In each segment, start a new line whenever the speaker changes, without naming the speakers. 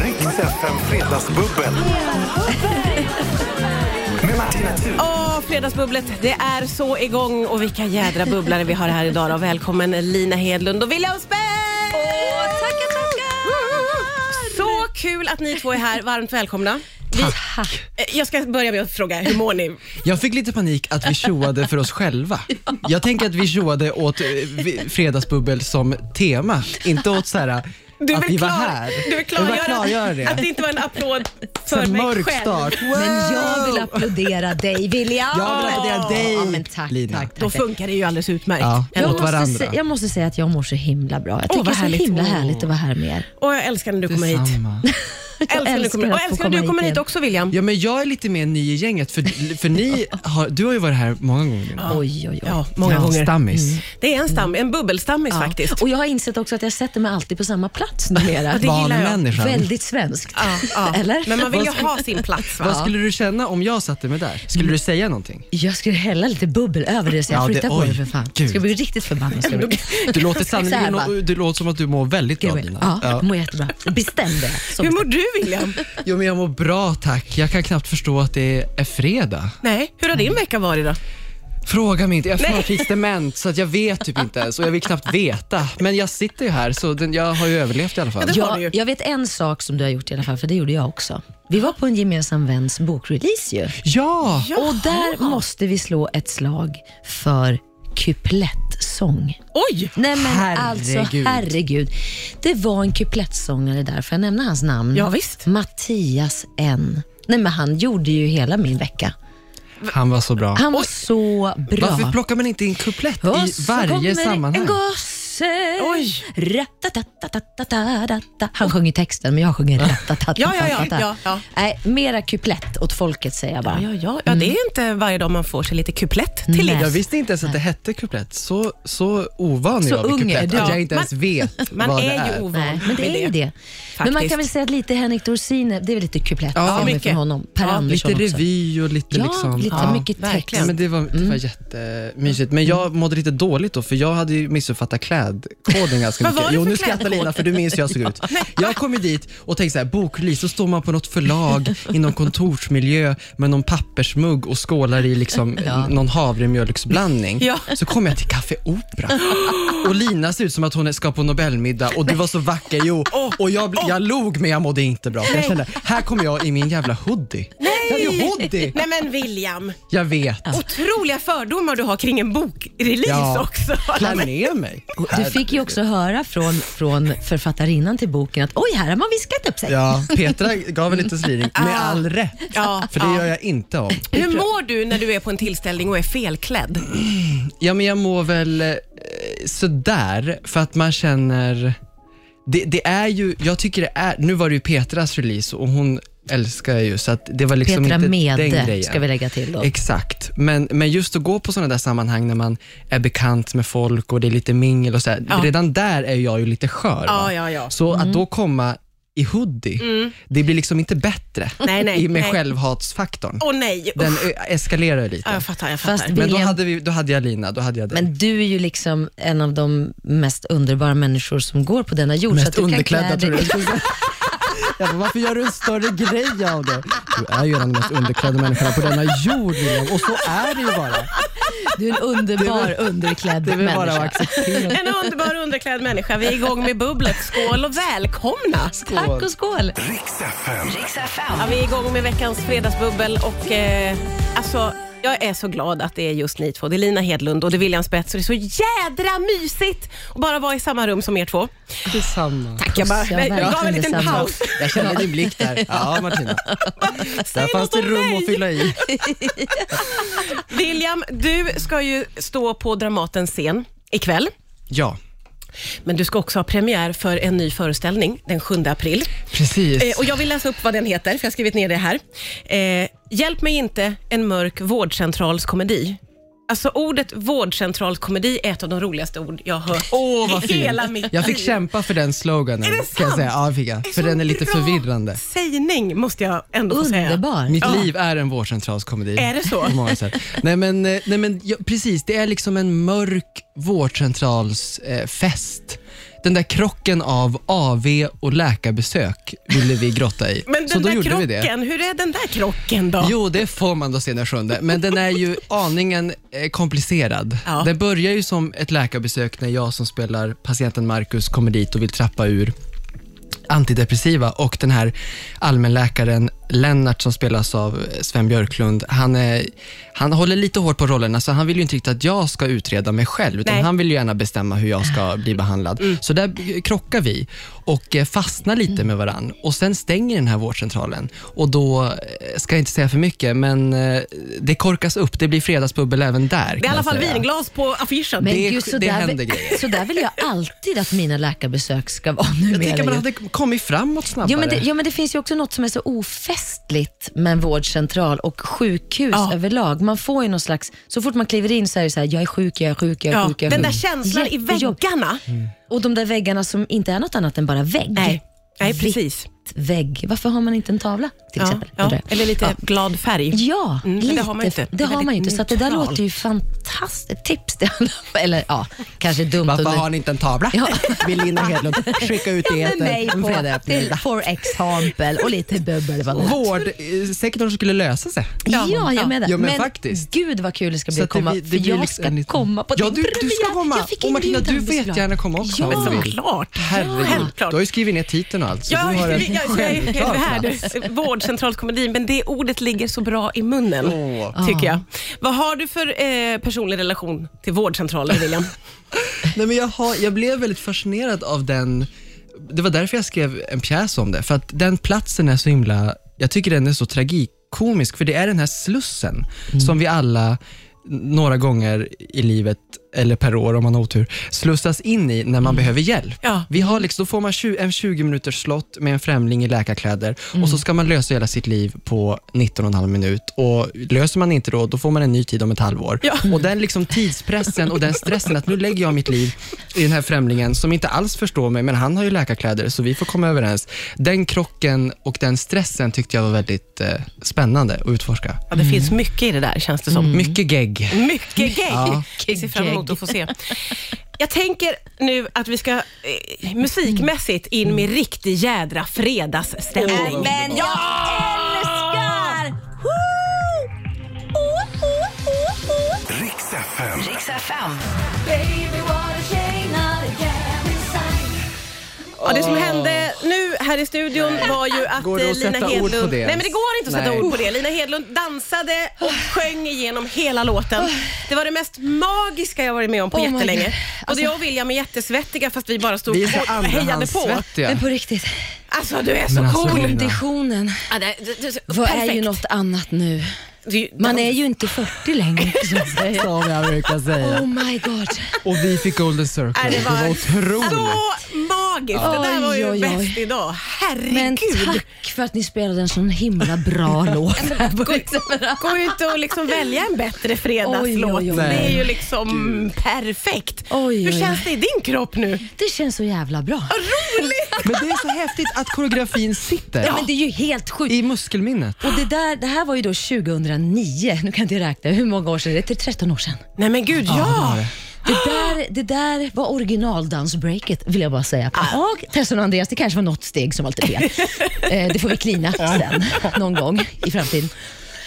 FM Fredagsbubbel. Med Martina Thun.
Åh, fredagsbubblet, det är så igång och vilka jädra bubblare vi har här idag då. Välkommen Lina Hedlund och William Spets!
Åh, tackar, tackar!
Så kul att ni två är här, varmt välkomna. Vi,
Tack.
eh, jag ska börja med att fråga, hur mår ni?
Jag fick lite panik att vi tjoade för oss själva. Jag tänker att vi tjoade åt eh, vi- fredagsbubbel som tema, inte åt så här
Du
att
vill
vi var
klar-
här.
Du vill klargöra,
jag vill klargöra
att
det.
det inte var en applåd för
En
mig
mörk
själv.
start.
Men jag vill applådera dig, William.
Jag vill applådera dig,
ja, men tack,
Lina.
Tack, tack,
Då
tack.
funkar det ju alldeles utmärkt.
Ja,
Eller-
Jag
åt
måste,
varandra.
sä- jag måste säga att jag mår så himla bra. Jag tycker
vad
det är
härligt.
så himla härligt att vara här med er.
Och jag älskar när du kommer hit.
Detsamma.
Jag älskar när du
älskar
kommer,
att
och
få
älskar när du
komma
kommer
hit
hit
igen.
också William.
Ja, men jag är lite mer ny i gänget, för, för ni har, du har ju varit här många gånger. Lina.
Oj, oj, oj.
Ja, många
Ja,
gånger. Mm.
Stammis.
Det är en stam, en bubbelstammis
Ja.
faktiskt.
Och jag har insett också att jag sätter mig alltid på samma plats numera.
det gillar jag.
Vanemänniskan.
Väldigt svenskt.
Ja, ja.
Eller?
Men man vill ju ha sin plats. Va?
Vad skulle du känna om jag satte mig där?
Mm.
Skulle du säga någonting?
Jag skulle hälla lite bubbel över det så jag
Ja, det-
flyttar på
oj,
det för fan.
gud.
Ska bli riktigt förbannad. Ska jag bli.
Du låter,
Så här,
sannerligen,
va?
du låter som att du mår väldigt bra, Lina.
Ja,
Ja.
jag mår jättebra. Bestäm det. Som
Hur mår du William?
Jo, men jag mår bra, tack. Jag kan knappt förstå att det är fredag.
Nej, hur har din vecka varit då?
Fråga mig inte. Jag
Nej.
har förtidsdement så att jag vet typ inte ens och jag vill knappt veta. Men jag sitter ju här så den, jag har ju överlevt i alla fall.
Ja, det- har du ju.
Jag, jag vet en sak som du har gjort i alla fall, för det gjorde jag också. Vi var på en gemensam väns bokrelease ju.
Ja!
Och där måste vi slå ett slag för kuplettsång.
Oj!
Nej men alltså
Herregud.
herregud. Det var en kuplettsångare där, får jag nämna hans namn?
Ja, visst.
Mattias N. Nej men han gjorde ju hela min vecka.
Han var så bra.
Han var så bra.
Varför plockar man inte in kuplett
Och
i
så
varje
kommer
sammanhang?
en gosse.
Oj.
Ratatatatatatatata. Han sjunger texten, men jag sjunger
Ja, ja, ja,
ratatatatata.
ja, ja.
Nej, mera kuplett åt folket säger jag bara.
Ja, ja, ja, det är inte varje dag man får sig lite kuplett till
Mm. Nej.
livs.
Jag visste inte ens att det hette kuplett. Så, så ovan
Så
jag var
ung
vid
är
kuplett
du.
att
Ja.
jag inte ens vet
Man
vad
är,
det är.
ju ovan
Nej, men det
vid
är ju det. Men man
Faktiskt.
kan väl säga att lite Henrik Dorsin, det är väl lite kuplett
Ja,
som är
mycket.
från honom. Per
Ja,
Andersson
Lite
också.
revy och lite
Ja,
liksom...
lite
Ja.
mycket text.
verkligen. Mm.
Men det var, det var jättemysigt. Men jag mådde lite dåligt då, för jag hade ju missuppfattat klädkoden ganska
Vad var
mycket.
det
jo,
för
nu skrattar
klädkod?
Lina, för du minns hur jag såg ut. Jag kom ju dit och tänkte så här, bokrelease, så står man på något förlag i någon kontorsmiljö med någon pappersmugg och skålar i liksom
Ja.
någon havremjölksblandning.
Ja.
Så kom jag till Café Opera och Lina ser ut som att hon ska på Nobelmiddag och du var så vacker. Jo, och jag, bl- jag log men jag mådde inte bra. För Jag kände, här kommer jag i min jävla hoodie. Nej. Jag hade ju hoodie.
Nej men William,
Jag vet.
otroliga fördomar du har kring en bokrelease
Ja.
också.
Klär ner mig.
Och Du fick ju också höra från, från författarinnan till boken att oj, här har man viskat upp sig.
Ja, Petra gav en liten sliring, med all rätt.
Ah. Ja,
För det
ja.
gör jag inte om.
Hur mår du när du är på en tillställning och är felklädd?
Ja, men jag mår väl eh, sådär, för att man känner... Det, det är ju, jag tycker det är, nu var det ju Petras release och hon älskar jag ju, så att det var liksom
Petra
inte den
Mede
grejen.
ska vi lägga till då.
Exakt, men, men just att gå på sådana där sammanhang när man är bekant med folk och det är lite mingel och sådär.
Ja.
Redan där är jag ju lite skör.
Ja,
va?
ja, ja. Mm.
Så att då komma i hoodie, det blir liksom inte bättre
Nej, nej,
i med
nej.
självhatsfaktorn.
Åh nej!
Den ö- eskalerar ju lite.
Ja, jag fattar, jag fattar.
Fast
men då
William-
hade, vi, då hade jag Lina, då hade jag dig.
Men du är ju liksom en av de mest underbara människor som går på denna jord. så att
Mest
du kan
underklädda
klä dig-
tror jag skulle säga. jag bara, varför gör du en större grej av det? Du är ju en av de mest underklädda människorna på denna jord William. och så är det ju bara.
Du är en underbar underklädd
Det är väl bara att
människa.
acceptera.
En underbar underklädd människa. Vi är igång med bubblet. Skål och välkomna!
Tack och skål.
Riks FM.
Ja, vi är igång med veckans fredagsbubbel och eh, alltså, jag är så glad att det är just ni två. Det är Lina Hedlund och det är William Spets och det är så jädra mysigt att bara vara i samma rum som er två.
Detsamma.
Tack, jag bara
Puss, ja,
jag gav en
verkligen
liten
detsamma.
paus.
Jag känner din blick där. Ja Martina,
Säg
där
något
fanns det
om
rum
mig.
att fylla i.
William, du ska ju stå på Dramatens scen ikväll.
Ja,
Men du ska också ha premiär för en ny föreställning den 7 april.
precis.
Eh, och jag vill läsa upp vad den heter, för jag har skrivit ner det här. Eh, Hjälp mig inte, en mörk vårdcentralskomedi. Alltså ordet vårdcentralskomedi är ett av de roligaste ord jag har hört
Åh vad
i
fint.
hela mitt
Jag fick
liv.
kämpa för den sloganen.
Är det
Kan
sant?
jag säga. Ja, det fick jag.
Så
För den är lite
bra
förvirrande.
Sägning måste jag ändå få säga.
Underbar.
Mitt liv är en vårdcentralskomedi.
Är det så?
På många sätt. Nej men, eh, nej, men ja, precis, det är liksom en mörk vårdcentralsfest. Eh, fest. den där krocken av AV och läkarbesök ville vi grotta i.
Men
så
den
då
där
gjorde vi det.
krocken, hur är den där krocken då?
Jo, det får man då se den sjunde, men den är ju aningen eh, komplicerad.
Ja.
Den börjar ju som ett läkarbesök när jag som spelar patienten Marcus kommer dit och vill trappa ur antidepressiva och den här allmänläkaren Lennart som spelas av Sven Björklund, han, är, han håller lite hårt på rollerna så han vill ju inte riktigt att jag ska utreda mig själv utan
Nej. Mm.
han vill ju gärna bestämma hur jag ska bli behandlad. Så där krockar vi och eh, fastnar lite med varann och sen stänger den här vårdcentralen och då eh, ska jag inte säga för mycket men eh, det korkas upp, det blir fredagsbubbel även där.
Det är i alla fall vinglas på affischen.
Men
Det-
gud,
det
så där,
händer
vill-
grejer.
så där vill jag alltid att mina läkarbesök ska vara numera.
Jag tänker man
ju.
hade kommit framåt snabbare.
Jo men, det, jo, men det finns ju också något som är så ofestligt med en vårdcentral och sjukhus
Ja.
överlag. Man får ju någon slags, så fort man kliver in så är det så här, jag är sjuk, jag är sjuk, jag är
ja,
sjuk. Jag är
den där
sjuk.
känslan i
Jättejobb-
väggarna.
Och de där väggarna som inte är något annat än bara vägg.
Nej. Nej, precis.
Vägg. Varför har man inte en tavla till
Ja,
exempel?
ja.
Undrar jag.
Eller lite
Ja.
glad färg.
Ja,
Mm, men
lite.
det har man ju inte.
Det,
Det är
har man ju inte.
väldigt
Så att det där
neutral.
låter ju fantastiskt. Ett Tips till alla. Eller ja, kanske dumt.
Varför
och-
har ni inte en tavla?
Ja.
Vill Lina Hedlund skicka ut i
med
etern
mig
en
på till
fredagseftermiddag?
for example och lite bubbel. vad lätt.
Vårdsektorn skulle lösa sig.
Ja, jag är med där.
Ja, men faktiskt.
gud vad kul det ska bli
Så
att
att det
komma.
blir- det
för
blir
jag
liksom
ska
en liten-
komma på
Ja,
din
du- du ska
premiär.
komma.
Jag fick
Och Martina,
inbjudan,
du får
det är så glad.
jättegärna komma också,
Ja.
om du vill.
Klart.
Herregud. Du
Självklart.
har ju skrivit ner titeln och allt. Så
Ja,
du har en
jag, jag, jag är
självklar
här
plats.
nu. Vårdcentralskomedin, men det ordet ligger så bra i munnen,
Åh.
tycker jag. Vad har du för eh, personlig relation till vårdcentraler, William?
Nej, men jag, har, jag blev väldigt fascinerad av den. Det var därför jag skrev en pjäs om det. För att den platsen är så himla, jag tycker den är så tragikomisk. För det är den här slussen som vi alla några gånger i livet, eller per år om man har otur, slussas in i när man behöver hjälp.
Ja.
Vi har liksom, då får man 20, en 20 minuters slott med en främling i läkarkläder och
Mm.
så ska man lösa hela sitt liv på 19,5 minut. Och löser man inte då, då får man en ny tid om ett halvår.
Ja.
Och den liksom tidspressen och den stressen att nu lägger jag mitt liv i den här främlingen som inte alls förstår mig, men han har ju läkarkläder så vi får komma överens. Den krocken och den stressen tyckte jag var väldigt eh, spännande att utforska.
Ja, det finns mycket i det där, känns det som.
Mycket gegg.
Mm. Mycket gay.
Mm. Ja.
Vi ser fram emot att få se. Jag tänker nu att vi ska eh, musikmässigt in med riktig jädra fredagsstämning.
Mm. Åh, vad underbart.
Men jag älskar!
Riks FM.
Baby, what a shame not again inside.
Ja, det som hände nu här i studion var ju att
Ah. Går det
eh,
att
Lina
sätta ord på
Hedlund...
det
Nej, men
ens?
det går inte att sätta
Nej.
ord på det. Lina Hedlund dansade och sjöng igenom hela låten. Det var det mest magiska jag varit med om på
Oh my
jättelänge.
God.
Både jag och William är jättesvettiga fast vi bara stod
Vi är så
och hejade på.
andrahandssvettiga.
Men på riktigt,
Alltså, du är så
Men alltså,
cool.
Lina.
konditionen
Ja, det, det, det,
var är
perfekt.
ju något annat nu.
Det-
Man är ju inte 40 längre. så att säga.
Som jag brukar
Oh
säga.
my god.
Och vi fick Golden Circle.
Nej, det var
otroligt.
Så magiskt! Det där
Oj,
var ju
oj, oj.
bäst idag.
Men
Herregud!
tack för att ni spelade en sån himla bra låt. här på Rix FM.
Gå ut och liksom välja en bättre
Liksom. Oj,
fredagslåt.
oj, oj.
Det är
Nej.
ju liksom perfekt.
Oj,
Hur
oj,
känns det i din kropp nu?
Det känns så jävla bra.
Men det är så häftigt att koreografin sitter
Ja, men det är ju helt sjukt.
i muskelminnet.
Och det, där, det här var ju då 2009, nu kan jag inte räkna, hur många år sedan är det? Det är 13 år sedan.
Nej men gud,
Ja,
ja!
det
Det där, det där var originaldansbreaket vill jag bara säga. Och Tesson och Andreas, det kanske var något steg som var lite fel. eh, det får vi klina sen, någon gång i framtiden.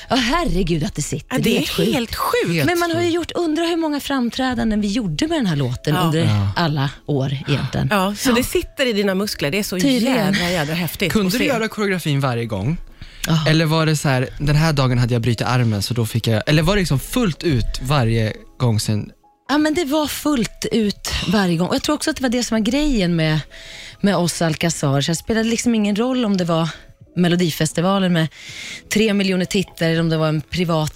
Ja, herregud att det sitter.
Ja, det är
sjukt.
helt sjukt.
Men man har ju gjort, undra hur många framträdanden vi gjorde med den här låten
Ja.
under alla år egentligen.
Ja, så det sitter i dina muskler. Det är så
Tydligen.
jädra, jädra häftigt
Kunde
att
du
se.
göra koreografin varje gång? Eller var det så här, den här dagen hade jag brutit armen så då fick jag, eller var det liksom fullt ut varje gång sen?
Ja, men det var fullt ut varje gång. Och jag tror också att det var det som var grejen med, med oss Alcazar. Så det spelade liksom ingen roll om det var Melodifestivalen med tre miljoner tittare eller om det var en privat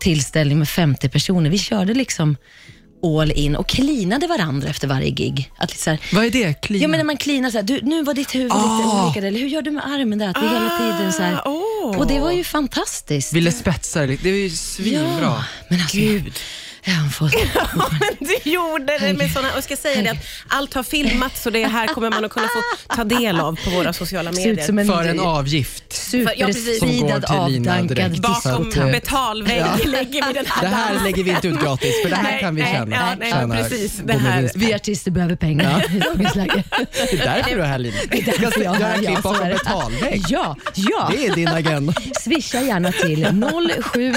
tillställning med 50 personer. Vi körde liksom all in och klinade varandra efter varje gig. Att lite så här,
Vad är det? Klina?
ja, men när man klinar så här, du, nu var ditt huvud lite
Mm. Ah.
olika, eller hur gör du med armen där? Att vi hela tiden så här.
Ah, åh.
Och det var ju fantastiskt.
Ville spetsa det lite, det är ju svinbra.
Ja, men alltså, Gud. är han full.
Ja, men du gjorde det med såna, och jag ska säga det att allt har filmats så det här kommer man att kunna få ta del av på våra sociala
Ser ut
medier.
som en
för en avgift.
ja, precis.
superspridad,
Som går till Lina
avdankad
direkt.
Bakom
Så att, eh,
dissot.
betalvägg liksom. lägger vi den här
Det här
dansen.
lägger vi inte ut gratis för det här
Nej,
kan vi
nej,
tjäna.
ja, nej,
tjäna
precis. Det
på med
här-
vinst.
Vi artister behöver pengar i dagens läge.
Det är därför du är här Lina. Du ska
Ja,
göra
ja,
klipp
så
bakom
är det.
betalvägg.
Ja, ja.
Det är din agenda.
Swisha gärna till 07...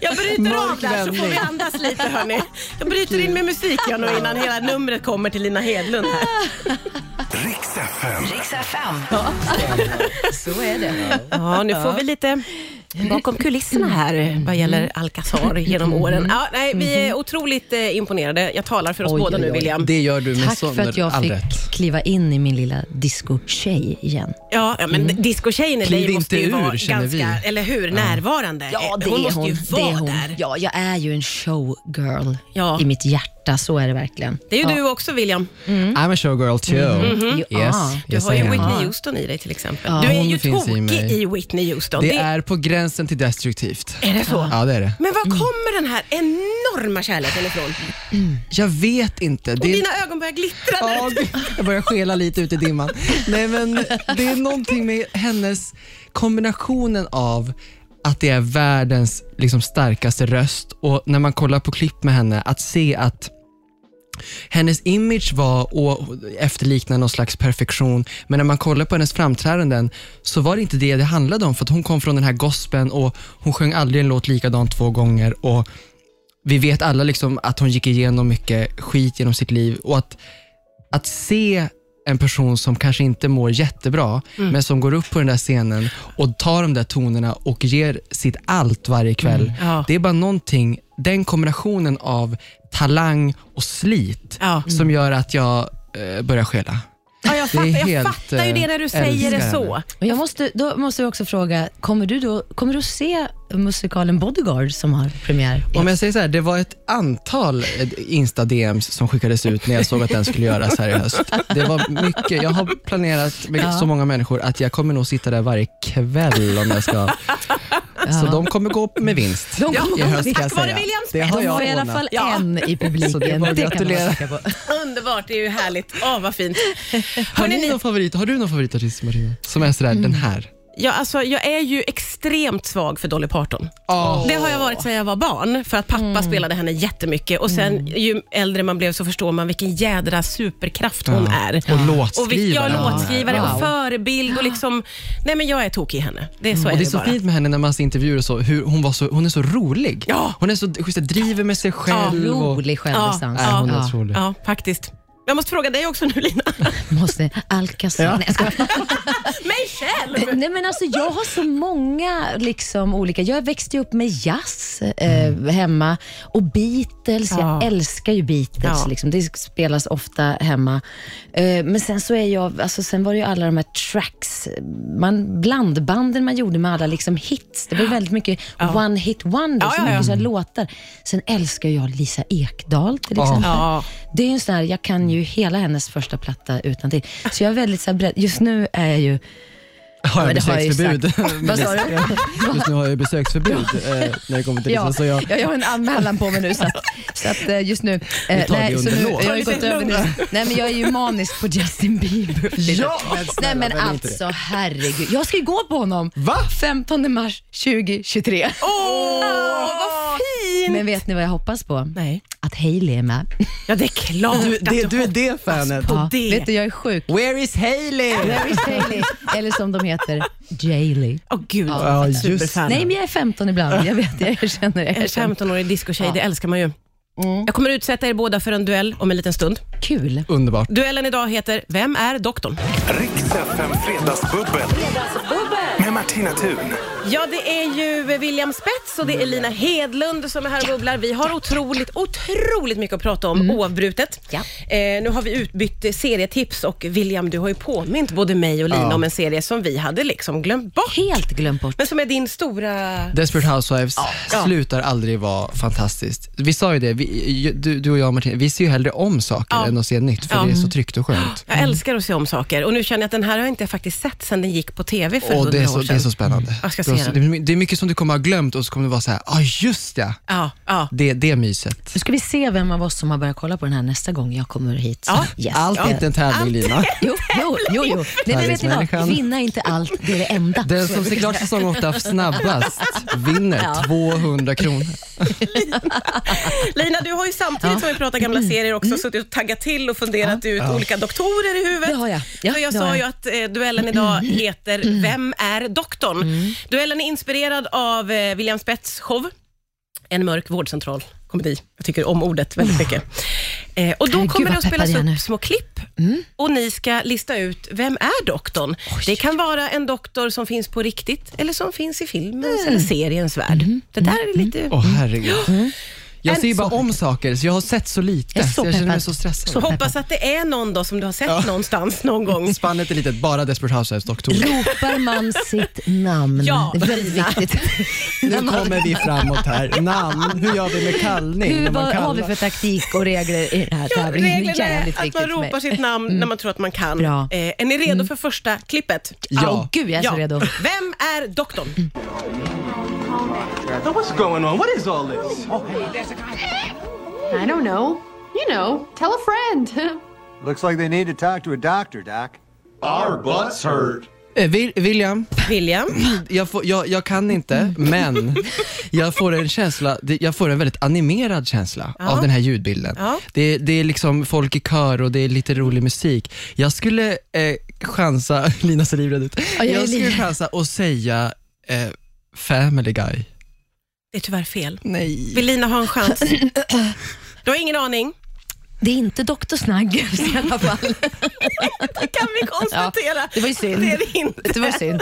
Jag bryter av
Mörk
där så får vi
vändning.
andas lite hörni. Jag bryter in med musik jag nu innan hela numret kommer till Lina Hedlund här.
Riks FM.
Riks FM.
Så är det.
Ja, nu får vi lite bakom kulisserna här vad gäller Alcazar genom åren. Ja, nej, vi är otroligt eh, imponerade. Jag talar för oss
Oj,
båda
oj,
nu
oj.
William.
Det gör du med
Tack
sån
för att jag
all
fick
rätt.
kliva in i min lilla disco-tjej igen.
Ja, ja men discotjejen i
Kliv
dig måste ju
inte ur,
vara
känner
ganska,
vi.
eller hur, närvarande.
Ja, det
hon
är
måste
Eh, hon.
ju
det
vara
är hon.
där.
Ja, jag är ju en showgirl
Ja.
i mitt hjärta. Så är det Mm. verkligen.
Det är ju
ja.
du också William.
Mm.
I'm a showgirl too.
You
Yes,
are.
Du
yes
har ju
I am.
Whitney Houston i dig till exempel.
Ja,
du är
hon
ju
finns i
tokig
mig.
i, Whitney Houston.
Det är på gränsen till destruktivt.
är det så?
Ja, det är det.
Men var kommer den här enorma kärleken ifrån?
Jag vet inte.
Och
Det är...
dina ögon börjar glittra nu.
Ja, gud, jag börjar skela lite ut i dimman. Nej, men det är någonting med hennes kombinationen av att det är världens liksom, starkaste röst och när man kollar på klipp med henne, att se att hennes image var och efterlikna någon slags perfektion, men när man kollar på hennes framträdanden så var det inte det det handlade om, för att hon kom från den här gospeln och hon sjöng aldrig en låt likadan två gånger och vi vet alla liksom att hon gick igenom mycket skit genom sitt liv och att, att se en person som kanske inte mår jättebra,
Mm.
men som går upp på den där scenen och tar de där tonerna och ger sitt allt varje kväll.
Mm, Ja.
Det är bara någonting, den kombinationen av talang och slit
Ja.
som gör att jag eh, börjar skela.
Ja, jag
Det är
fattar, jag
helt,
fattar ju det när du
eh,
säger det
älskar
så.
henne.
Men jag måste, då måste jag också fråga, kommer du, då, kommer du att se musikalen Bodyguard som har premiär? i
Om jag säger så här, det var ett antal eh, Insta-DMs som skickades ut när jag såg att den skulle göras här i höst. Det var mycket. Jag har planerat med så många människor att jag kommer nog sitta där varje kväll om jag ska. Så de kommer gå upp med vinst
De kommer
i
gå upp
höst ska jag
Tack vare
säga.
Williams
Det
bett.
har
Eh, De
jag
var i alla
ordnat.
fall
Ja.
en i publiken.
Så det är bara att
kan man
gratulera.
tänka på.
Underbart, det är ju härligt. Åh, vad fint.
Har,
Hörrni,
ni
ni,
någon favorit, har du någon favoritartist Marina? Som är sådär, den här?
ja, alltså, jag är ju extremt svag för Dolly Parton.
Åh.
Det har jag varit sedan jag var barn, för att pappa spelade henne jättemycket. Och sen ju äldre man blev så förstår man vilken jädra superkraft hon
Ja.
är. Och
Och
vi, ja,
låtskrivare. hon är.
låtskrivare och
Wow.
förebild och liksom, nej men jag är tokig i henne. Det är så är
Och det är
Mm. det
så
bara.
fint med henne när man ser intervjuer och så, hur hon, var så, hon är så rolig.
Ja.
Hon är så schysst, driver med sig själv. och-
Rolig självdistans.
Nej, hon är
Ja.
otrolig.
Ja, faktiskt. Jag måste fråga dig också nu Lina.
Måste Alcazar. Nej, jag skojar.
Mig själv!
Nej, men alltså, jag har så många liksom, olika. Jag växte ju upp med jazz eh, hemma och Beatles.
Ja.
Jag älskar ju Beatles.
Ja.
Liksom. Det spelas ofta hemma. Eh, men sen så är jag, alltså, sen var det ju alla de här tracks, man, blandbanden man gjorde med alla liksom, hits. Det var ju väldigt mycket one hit wonder,
Ja,
så
ja, ja.
mycket så här, låtar. Sen älskar jag Lisa Ekdahl till exempel.
Ja.
Det är ju en sån här, jag kan ju hela hennes första platta utan till. Så jag är väldigt så här, beredd. Just nu är jag ju
Har jag
men det har jag ju
besöksförbud?
sagt. Vad sa du?
Just nu har jag ju besöksförbud eh, när det kommer till
Ja,
Lisa, så jag,
ja, jag har en anmälan på mig nu, så att, så att eh, just nu... eh,
Vi tar
så
det under
nu
låt.
jag
Ta
har ju
lite
gått över nu. Nej, men jag är ju manisk på Justin Bieber.
Ja, men
Nej,
snälla,
men
vem är inte
alltså herregud. Jag ska ju gå på honom.
Va?
15 mars 2023.
Åh, vad fint!
Men vet ni vad jag hoppas på?
Nej.
Att Hailey är med.
Ja, det är klart
du,
att du,
det, du är det fanet.
på det.
Vet du, jag är sjuk.
Where is Hailey?
Where is Hailey? Eller som de heter, Jailey.
Åh gud,
Ja,
ett
just-
superfan.
Nej, men jag är 15 ibland. Jag vet, jag erkänner det.
En
Jag känner.
15-årig discotjej, det älskar man ju.
Mm.
Jag kommer utsätta er båda för en duell om en liten stund.
Kul.
Underbart.
Duellen idag heter Vem är doktorn?
Riks FM Fredagsbubbel. Med Martina Thun.
Ja, det är ju William Spets och det är Lina Hedlund som är här och bubblar. Vi har otroligt, otroligt mycket att prata om oavbrutet.
Ja.
Eh, nu har vi utbytt serietips och William, du har ju påmint både mig och Lina om en serie som vi hade liksom glömt bort.
Helt glömt bort.
Men som är din stora...
Desperate Housewives
Ja.
slutar aldrig vara fantastiskt. Vi sa ju det, vi, ju- du, du och jag Martina, vi ser ju hellre om saker
Ja.
än att se nytt, för
Ja.
det är så tryggt och skönt.
Mm. Jag älskar att se om saker och nu känner jag att den här har jag inte faktiskt sett sedan den gick på TV för
Och det
hundra
är, så,
år
det är
sedan.
så spännande.
Jag ska
Det var
se
så-
den.
det, det är mycket som du kommer ha glömt och så kommer du vara så här, ja just ja,
Ja, ja.
det, det är myset.
Nu ska vi se vem av oss som har börjat kolla på den här nästa gång jag kommer hit.
Ja.
Yes.
Allt är inte en tävling Lina.
Jo, jo, jo. jo. Nej, men vet ni vad?
Tävlingsmänniskan.
Vinna inte allt, det är det enda.
Den som ser klart säsong 8 snabbast vinner 200 kronor.
Lina, du har ju samtidigt som vi pratar gamla
Mm.
serier också suttit och taggat till och funderat ut olika doktorer i huvudet.
Det har jag. Ja,
För jag
det har
sa
jag. Mm.
ju att eh, duellen idag heter Vem är doktorn? Duellen är inspirerad av eh, William Spets show, En mörk vårdcentral komedi. Jag tycker om ordet väldigt mycket. Eh, och då
Herregud,
kommer det
vad
att
peppad
spelas
jag är
upp
nu. Mm.
små klipp och ni ska lista ut vem är doktorn? Det kan vara en doktor som finns på riktigt eller som finns i filmens
Mm.
eller seriens värld. Det där är lite...
Åh herregud. Jag
En-
ser ju bara om saker, så jag har sett så lite.
Mm. Jag är så
så jag känner mig
peppad.
så stressad.
Så-
Hoppas att det är någon då som du har sett någonstans någon gång.
Spannet är litet, bara Desperate Housewives-doktorer.
Ropar man sitt namn?
Ja,
det är väldigt viktigt.
Nu kommer vi framåt här. Namn, hur gör vi med kallning?
Hur,
när man
vad har vi
kallar?
för taktik och regler i den här
Ja,
tävlingen?
reglerna är
Jävligt
att
viktigt
man
för mig. Mm.
ropar sitt namn när man tror att man kan.
Bra. Mm.
Eh, är ni redo för första klippet?
Ja.
Åh, gud, jag är så redo. Mm.
Vem är doktorn?
What's going on? What is all this?
I don't know. You know, tell a friend.
Looks like they need to talk to a doctor, Doc.
Our butts hurt.
Eh, Vil- William,
William?
Mm.
jag, får, jag, jag kan inte, men jag får en känsla, det- jag får en väldigt animerad känsla av den här ljudbilden.
Ja.
Det, det är liksom folk i kör och det är lite rolig musik. Jag skulle eh, chansa, Lina ser livrädd ut,
jag är
jag skulle
livrädd.
chansa och säga eh, Family Guy.
Det är tyvärr fel.
Nej.
Vill Lina ha en chans? Du har ingen aning?
Det är inte Dr. Snuggles i alla fall.
Det kan vi konstatera.
Ja, det var ju synd.
Det är det inte.
Det var synd.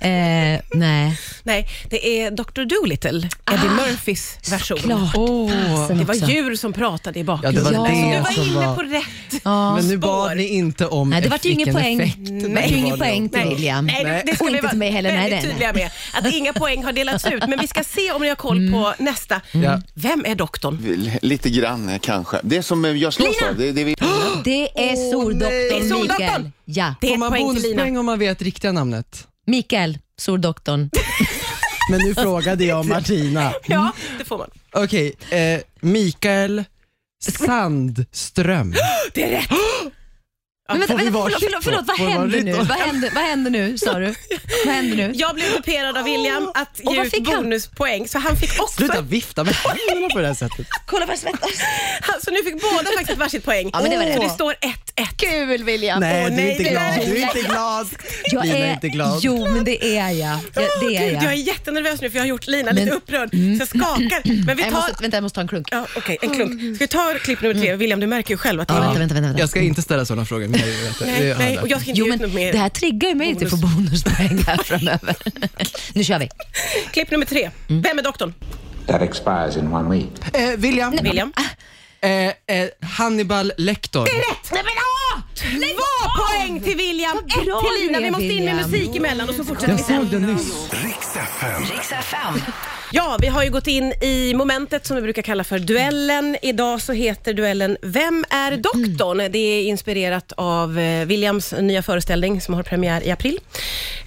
Eh, nej,
Nej, det är Dr Dolittle, Eddie Murphys version.
klart. Ah, Fasen
Det var
också.
djur som pratade i bakgrunden.
Ja, det
var
Så
det
du var
som
inne
var-
på rätt
Ja.
Men nu
spår.
bad ni inte om
Nej, det vart ju ingen
vilken
poäng.
effekt.
Det var ju ingen poäng till William.
Nej, det, det ska
Och
vi
inte
vara
till mig heller. Nej,
väldigt
nej, nej.
tydliga med. Att inga poäng har delats ut, men vi ska se om ni har koll på
Mm.
nästa.
Ja.
Vem är doktorn?
Lite grann eh, kanske. Det som eh, jag slås
Lina!
av, det, det vill
Det är
Det är
Sordoktorn
Sordoktorn.
Mikael. Ja.
Det är
Får
ett
man
poäng till Lina.
bonuspoäng om man vet riktiga namnet?
Mikael, Sordoktorn.
Men nu frågade jag Martina.
Ja, det får man.
Okej, eh, Mikael Sandström.
Det är rätt.
Men vänta,
Får vi
vänta,
varsitt
förlåt, förlåt,
då?
förlåt, vad
Får vi
händer
varsitt
nu?
då?
Vad händer, vad händer nu, sa du? Vad händer nu?
Jag blev duperad av William att
Och
ge
vad
ut
fick han?
bonuspoäng, så han fick också...
Sluta vifta med händerna på det här sättet.
Kolla vad jag svettas.
Så nu fick båda faktiskt varsitt poäng.
men det var
Så
rätt.
det står 1-1.
Kul, William.
Nej,
nej, det där är-
Du är inte glad.
Jag
Lina
är,
är inte glad.
Jo, men det är jag. Det, det är
Gud, jag är
jag.
jättenervös nu för jag har gjort Lina
Men- Mm.
lite upprörd, så jag skakar. Men vi
Jag
tar...
måste, vänta, jag måste ta en klunk.
Ja, Okej, en klunk. Ska vi ta klipp nummer tre? William, du märker ju själv att det är
Vänta, vänta, vänta.
Jag
vänta.
ska inte ställa sådana frågor. men jag vet det. Det
Nej,
har
nej,
jag
och jag ska inte
Jo,
ge ut
men
något mer.
det här triggar ju mig till att få bonuspoäng här framöver. nu kör vi.
Klipp nummer tre.
Mm.
Vem är doktorn?
That expires in one week.
lärt. eh, William.
William.
Eh, eh, Hannibal Lecter.
Nej, men, åh! Två poäng till William, ett
bra
till Lina.
du är,
Vi måste in med
William.
musik emellan och så fortsätter
Jag
vi sen.
såg den nyss.
Riks FM.
Ja, vi har ju gått in i momentet som vi brukar kalla för duellen. Idag så heter duellen Vem är doktorn? Det är inspirerat av eh, Williams nya föreställning som har premiär i april.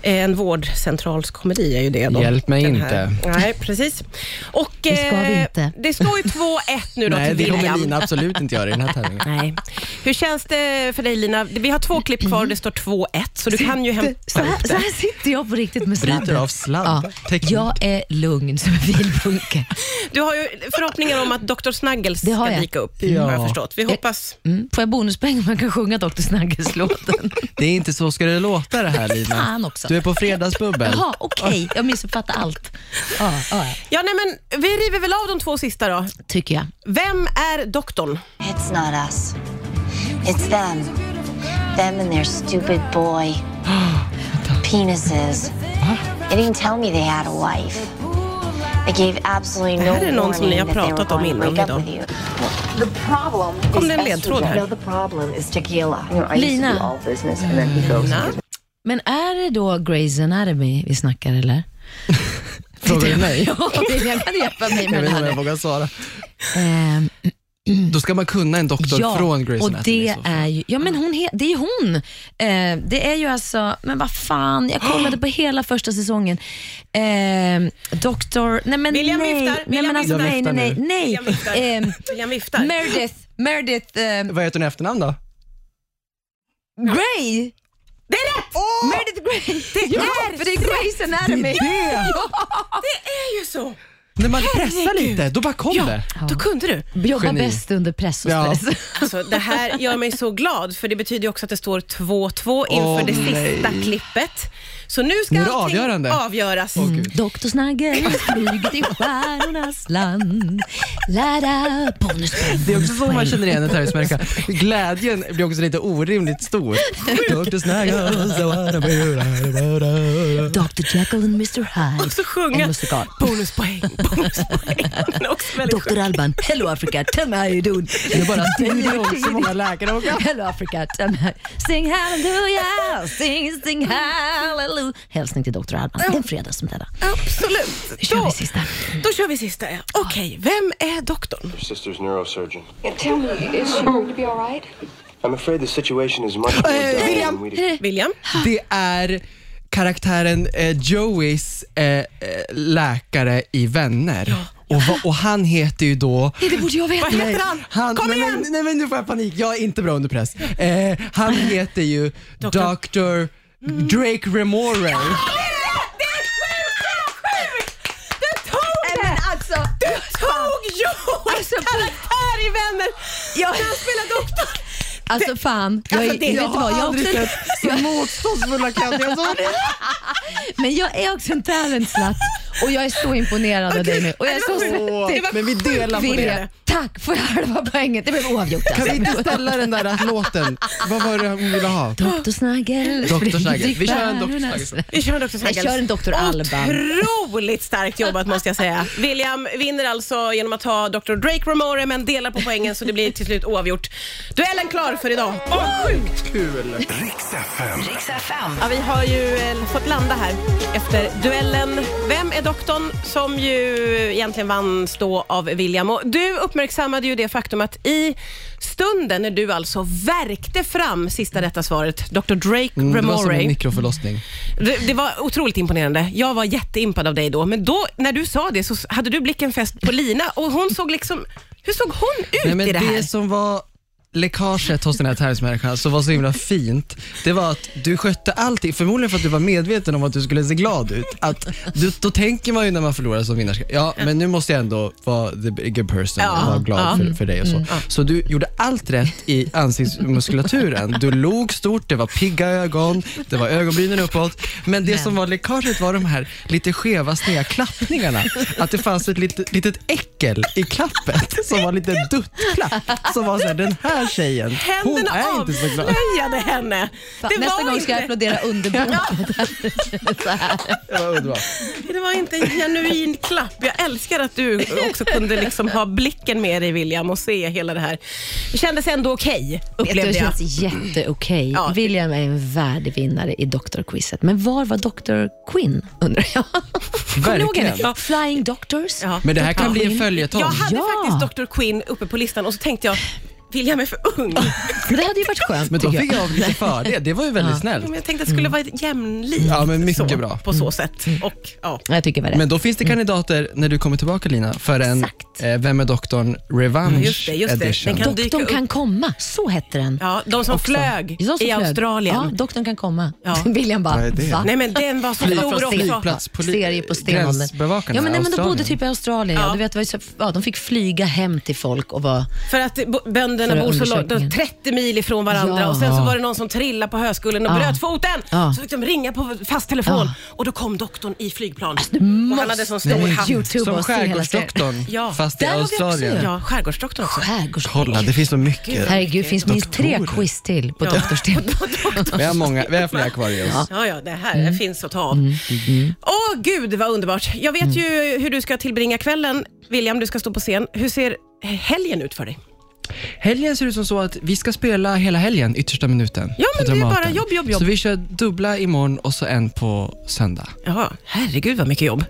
Eh, En vårdcentralskomedi är ju det. Då.
Hjälp mig
Den
inte.
Nej, precis. Och, det
ska vi inte.
Det står ju 2-1 nu då
Nej,
till
det
William.
kommer Lina absolut inte göra i den här tävlingen.
Nej. Hur känns det för dig Lina? Vi har två klipp kvar och det står 2-1 så du kan ju
Så
hämta
här,
upp
så
det.
här sitter jag på riktigt med
Bryter
sladden.
av sladd. Teknik.
Jag är lugn som en filbunke.
Du har ju förhoppningar om att Dr. Snuggles
Det har
ska
jag.
dyka upp
Ja.
har jag förstått. Vi hoppas.
Mm. Får jag bonuspoäng om man kan sjunga Dr. Snuggles-låten?
Det är inte så ska det låta det här Lina.
Fan också.
Du är på fredagsbubbel.
Jaha, okej. Jag missuppfattar allt. Ja, ja, ja.
Ja, nej, men vi river väl av de två sista då.
tycker jag.
Vem är doktorn?
It's not us. It's them. Them and their stupid boy. Penises. They didn't tell me they had a wife. They gave absolutely
Det
no
här är någon som ni har
warning that they were
pratat om
going to
innan
break up
idag.
with you. The problem
Kom det en ledtråd här?
The problem is tequila. You know, I
Lina. Mm.
used to do all business and then he goes.
Lina?
Men är det då Grey's Anatomy vi snackar eller?
Frågar du mig?
Ja, det kan hjälpa mig
Jag
med
vet
det
inte om jag
här.
vågar svara.
Ehm,
Då ska man kunna en doktor från Grey's
och
Anatomy.
det
så.
är ju, ja men hon, he, det är ju hon. Eh, det är ju alltså, men vad fan, jag kollade på hela första säsongen. Eh, doktor, nej men
William
nej.
viftar,
nej,
William
men alltså,
viftar.
nej, nej, nej, nej.
William viftar.
Ehm,
William viftar.
Meredith, Meredith eh,
Vad heter hon i efternamn då?
Grey.
Det är rätt!
Meredith Grey. Det ja,
är
för det är Grey's Anatomy.
Det är ju så!
När man pressar lite, då bara kom det.
Då kunde du.
Jobba
Geni.
bäst under press och
Ja.
stress.
Alltså, det här gör mig så glad, för det betyder ju också att det står 2-2 inför
Åh,
det
nej.
sista klippet. Så nu ska
Nu är det
allting
avgörande.
avgöras.
Mm.
Åh, gud.
Doktor Snagger flyger till stjärnornas land. Lära bonuspoäng.
Det är också så man känner igen en terroristmänniska. Glädjen blir också lite orimligt stor. Dr. Snagger, so I do-
Dr Jekyll and Mr Hyde.
Och så sjunga
En musikal.
bonuspoäng, bonuspoäng. Det är också väldigt
Dr
sjukt.
Alban, hello Africa, tell me how you doing.
Det är bara tio gånger så många läkare också.
Hello Africa, tell me how... Sing hallelujah, sing, sing hallelujah. Hälsning till Dr Alban, det är en fredag som denna.
Absolut.
kör
Då,
vi sista.
då kör vi sista. ja. Okej, vem är doktorn?
Your sister's neurosurgeon.
Tell me, is she going to be all right?
I'm afraid the situation is much more
Eh,
dire
William.
than we
William?
Det är karaktären eh, Joeys eh, eh, läkare i Vänner. Och, va, och han heter ju då...
Nej, det borde jag veta.
Vad heter han?
Han,
Kom
nej,
igen!
Men, nej men nu får jag panik, jag är inte bra under press. Eh, han heter ju Dr. Drake Remore.
Det är sjukt, det är sjukt! Du tog
Men
det!
alltså,
Du tog Joels karaktär i Vänner
Ja.
när han spelar doktor.
alltså fan. Jag, är-
Alltså, det-
vet du vad, jag, är också, en-
så motståndsfulla kandidater.
men jag är också en talent slut och jag är så imponerad av dig nu. Och jag är så
Åh,
svettig.
men vi delar på
Vilja,
det.
Tack, får jag halva poängen? Det blev oavgjort
Kan
alltså.
vi inte ställa den där låten? Vad var det hon ville ha?
Doktor Snagel.
Dr. Snagger. Vi kör en Dr.
Stjärnornas-
Snagger.
Vi kör en Dr. Snaggels.
Jag kör en Dr. Alban.
Otroligt starkt jobbat måste jag säga. William vinner alltså genom att ta Dr. Drake Ramore men delar på poängen så det blir till slut oavgjort. Duellen klar för idag. Åh, sjukt!
Kul!
Riks FM.
Ja, vi har ju eh, fått landa här efter duellen Vem är doktorn? som ju egentligen vanns då av William. Och du uppmärksammade ju det faktum att i stunden när du alltså värkte fram sista rätta svaret, Dr. Drake
Mm, Det var som en
Ramore.
mikroförlossning.
Det, det var otroligt imponerande. Jag var jätteimpad av dig då, men då när du sa det så hade du blicken fäst på Lina och hon såg liksom, hur såg hon ut
Nej, men
i det här?
som var läckaget hos den här terrorismänniskan som var så himla fint, det var att du skötte allting, förmodligen för att du var medveten om att du skulle se glad ut. Att du, då tänker man ju när man förlorar som vinnare, ja men nu måste jag ändå vara the good person
Ja,
och vara glad
ja.
för, för dig och så. Så du gjorde allt rätt i ansiktsmuskulaturen. Du log stort, det var pigga ögon, det var ögonbrynen uppåt. Men det som var läckaget var de här lite skeva, sneda klappningarna. Att det fanns ett litet, litet äckel i klappet som var lite duttklapp. Som var såhär, den här tjejen, hon
Händerna
är inte så glad.
avslöjade henne.
Fan,
Det
Nästa
var
gång ska jag
inte-
applådera underbart.
Det var underbart.
Det var inte en genuin klapp. Jag älskar att du också kunde liksom ha blicken med dig William och se hela det här. Det kändes ändå okej,
Vet du,
upplevde
Det
jag.
känns jätteokej.
Ja.
William är en värdig vinnare i doktorquizet. Men var var Dr. Quinn, undrar jag? Kommer ni ihåg henne?
Verkligen.
Flying Doctors?
Ja.
Men det här kan
Dr.
bli en
Quinn.
följetong.
Jag hade
Ja.
faktiskt Dr. Quinn uppe på listan och så tänkte jag, William är för ung.
Det hade ju varit skönt,
Men då
tycker
fick jag lite fördel, det var ju väldigt
Men
snällt.
jag tänkte att det skulle vara jämlikt.
Ja, men mycket
så,
bra. Mm.
På så sätt. Och, ja.
jag. Jag tycker det var rätt.
Men då finns det
Mm.
kandidater när du kommer tillbaka Lina, för en
Exakt.
eh, Vem är doktorn? Revenge
Just det, just det.
edition.
Den kan dyka
Doktorn
upp.
kan komma, så hette den.
Ja, de som flög
De som
i
flög.
Australien.
Ja, doktorn kan komma.
Ja.
William bara,
Vad är det?
va?
Nej men den var så stor
Flygplats,
också.
flygplats,
Serie på stenåldern.
gränsbevakarna
Ja, men, nej, men de
Australien.
bodde typ i Australien. Ja. Du vet, det var ju så, ja, de fick flyga hem till folk och vara...
För att bo- bönderna
För
bor så långt, de-
undersökningen.
30 mil ifrån varandra
Ja.
och sen så var det någon som trillade på höskullen och
Ja.
bröt foten.
Ja.
Så fick de ringa på fast telefon
Ja. Alltså,
och då kom doktorn i flygplan.
du
och han
måste
hade sån stor hatt.
YouTube
Som
och se hela serien.
skärgårdsdoktorn,
Ja.
fast i
Där har vi också
Australien.
Ja, skärgårdsdoktorn också.
Skärgårds...
Kolla, det finns så mycket.
Herregud, finns minst tre
Doktorer.
quiz till på doktorstenen.
Vi har, många, vi har flera kvar i oss.
Ja, ja, det här
Mm.
finns att ta av. Åh gud vad underbart. Jag
Mm.
vet ju hur du ska tillbringa kvällen. William, du ska stå på scen. Hur ser helgen ut för dig?
Helgen ser ut som så att vi ska spela hela helgen, yttersta minuten.
Ja, men
på
det är
Dramaten.
bara jobb, jobb, jobb.
Så vi kör dubbla imorgon och så en på söndag.
Jaha, herregud vad mycket jobb.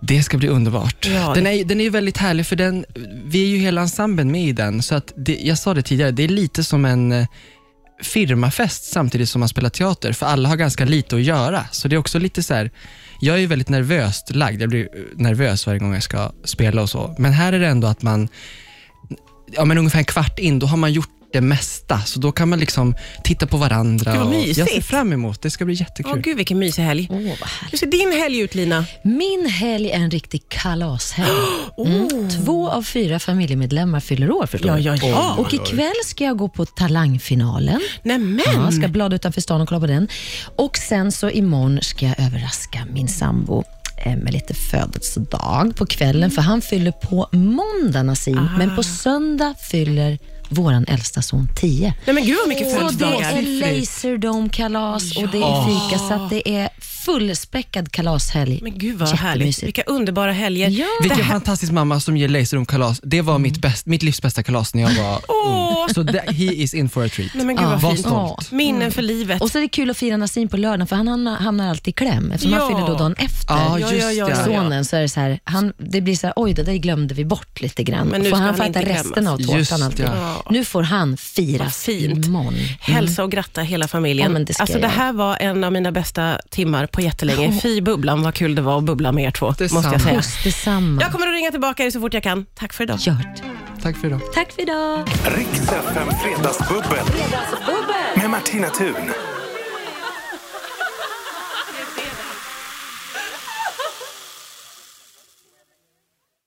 Det ska bli underbart.
Ja,
den,
det-
är, ju- den är ju väldigt härlig, för den, vi är ju hela ensemblen med i den. Så att det, jag sa det tidigare, det är lite som en eh, firmafest samtidigt som man spelar teater, för alla har ganska lite att göra. Så det är också lite så här, jag är ju väldigt nervöst lagd. Jag blir eh, nervös varje gång jag ska spela och så. Men här är det ändå att man, ja, men ungefär en kvart in, då har man gjort det mesta. Så då kan man liksom titta på varandra.
Gud, vad
och jag ser
mysigt.
fram emot det. ska bli jättekul.
Åh gud vilken mysig helg. Hur ser din helg ut Lina?
Min helg är en riktig kalashelg. Mm. Två av fyra familjemedlemmar fyller år förstår
Oh. Ja,
du.
ja, ja.
Och
Oj, oj, oj.
ikväll ska jag gå på talangfinalen.
Nämen!
Ja, ska blada utanför stan och kolla på den. Och sen så imorgon ska jag överraska min sambo eh, med lite födelsedag på kvällen, för han fyller på måndag Nassim,
Ah.
men på söndag fyller våran äldsta son 10.
Nej men gud vad mycket
Så det
födelsedagar.
är Laserdome-kalas och det är fika, så att det är fullspäckad kalashelg.
Men gud vad härligt. Vilka underbara helger.
Vilken fantastisk mamma som ger Laserroom-kalas. Det var mitt, bäst, mitt livs bästa kalas när jag var
Åh.
Mm.
ung. Så det, he is in for a treat.
Nej, men gud vad
var
fint.
stolt.
Minnen för livet.
Mm. Och så är det kul att fira Nassim på lördagen, för han hamnar- hamnar alltid i kläm eftersom han
Ja.
fyller då dagen efter.
Ja, Ah, just Ja, ja, ja, ja.
Sonen, så är det så här, han, det blir så här, oj det där glömde vi bort lite grann.
Men nu
får
ska
han,
han
fatta
inte
resten
klämmas.
av tårtan
Just
alltid.
ja.
Nu får han firas imorgon. Mm.
Hälsa och gratta hela familjen.
Ja, men det ska
alltså,
jag
det
göra.
här var en av mina bästa timmar på jättelänge. Fy bubblan vad kul det var att bubbla med er två. Måste jag, säga.
Puss detsamma.
jag kommer att ringa tillbaka er så fort jag kan. Tack för idag.
Gör det.
Tack för idag.
Tack för idag.
Riks FM Fredagsbubbel. Med Martina Thun.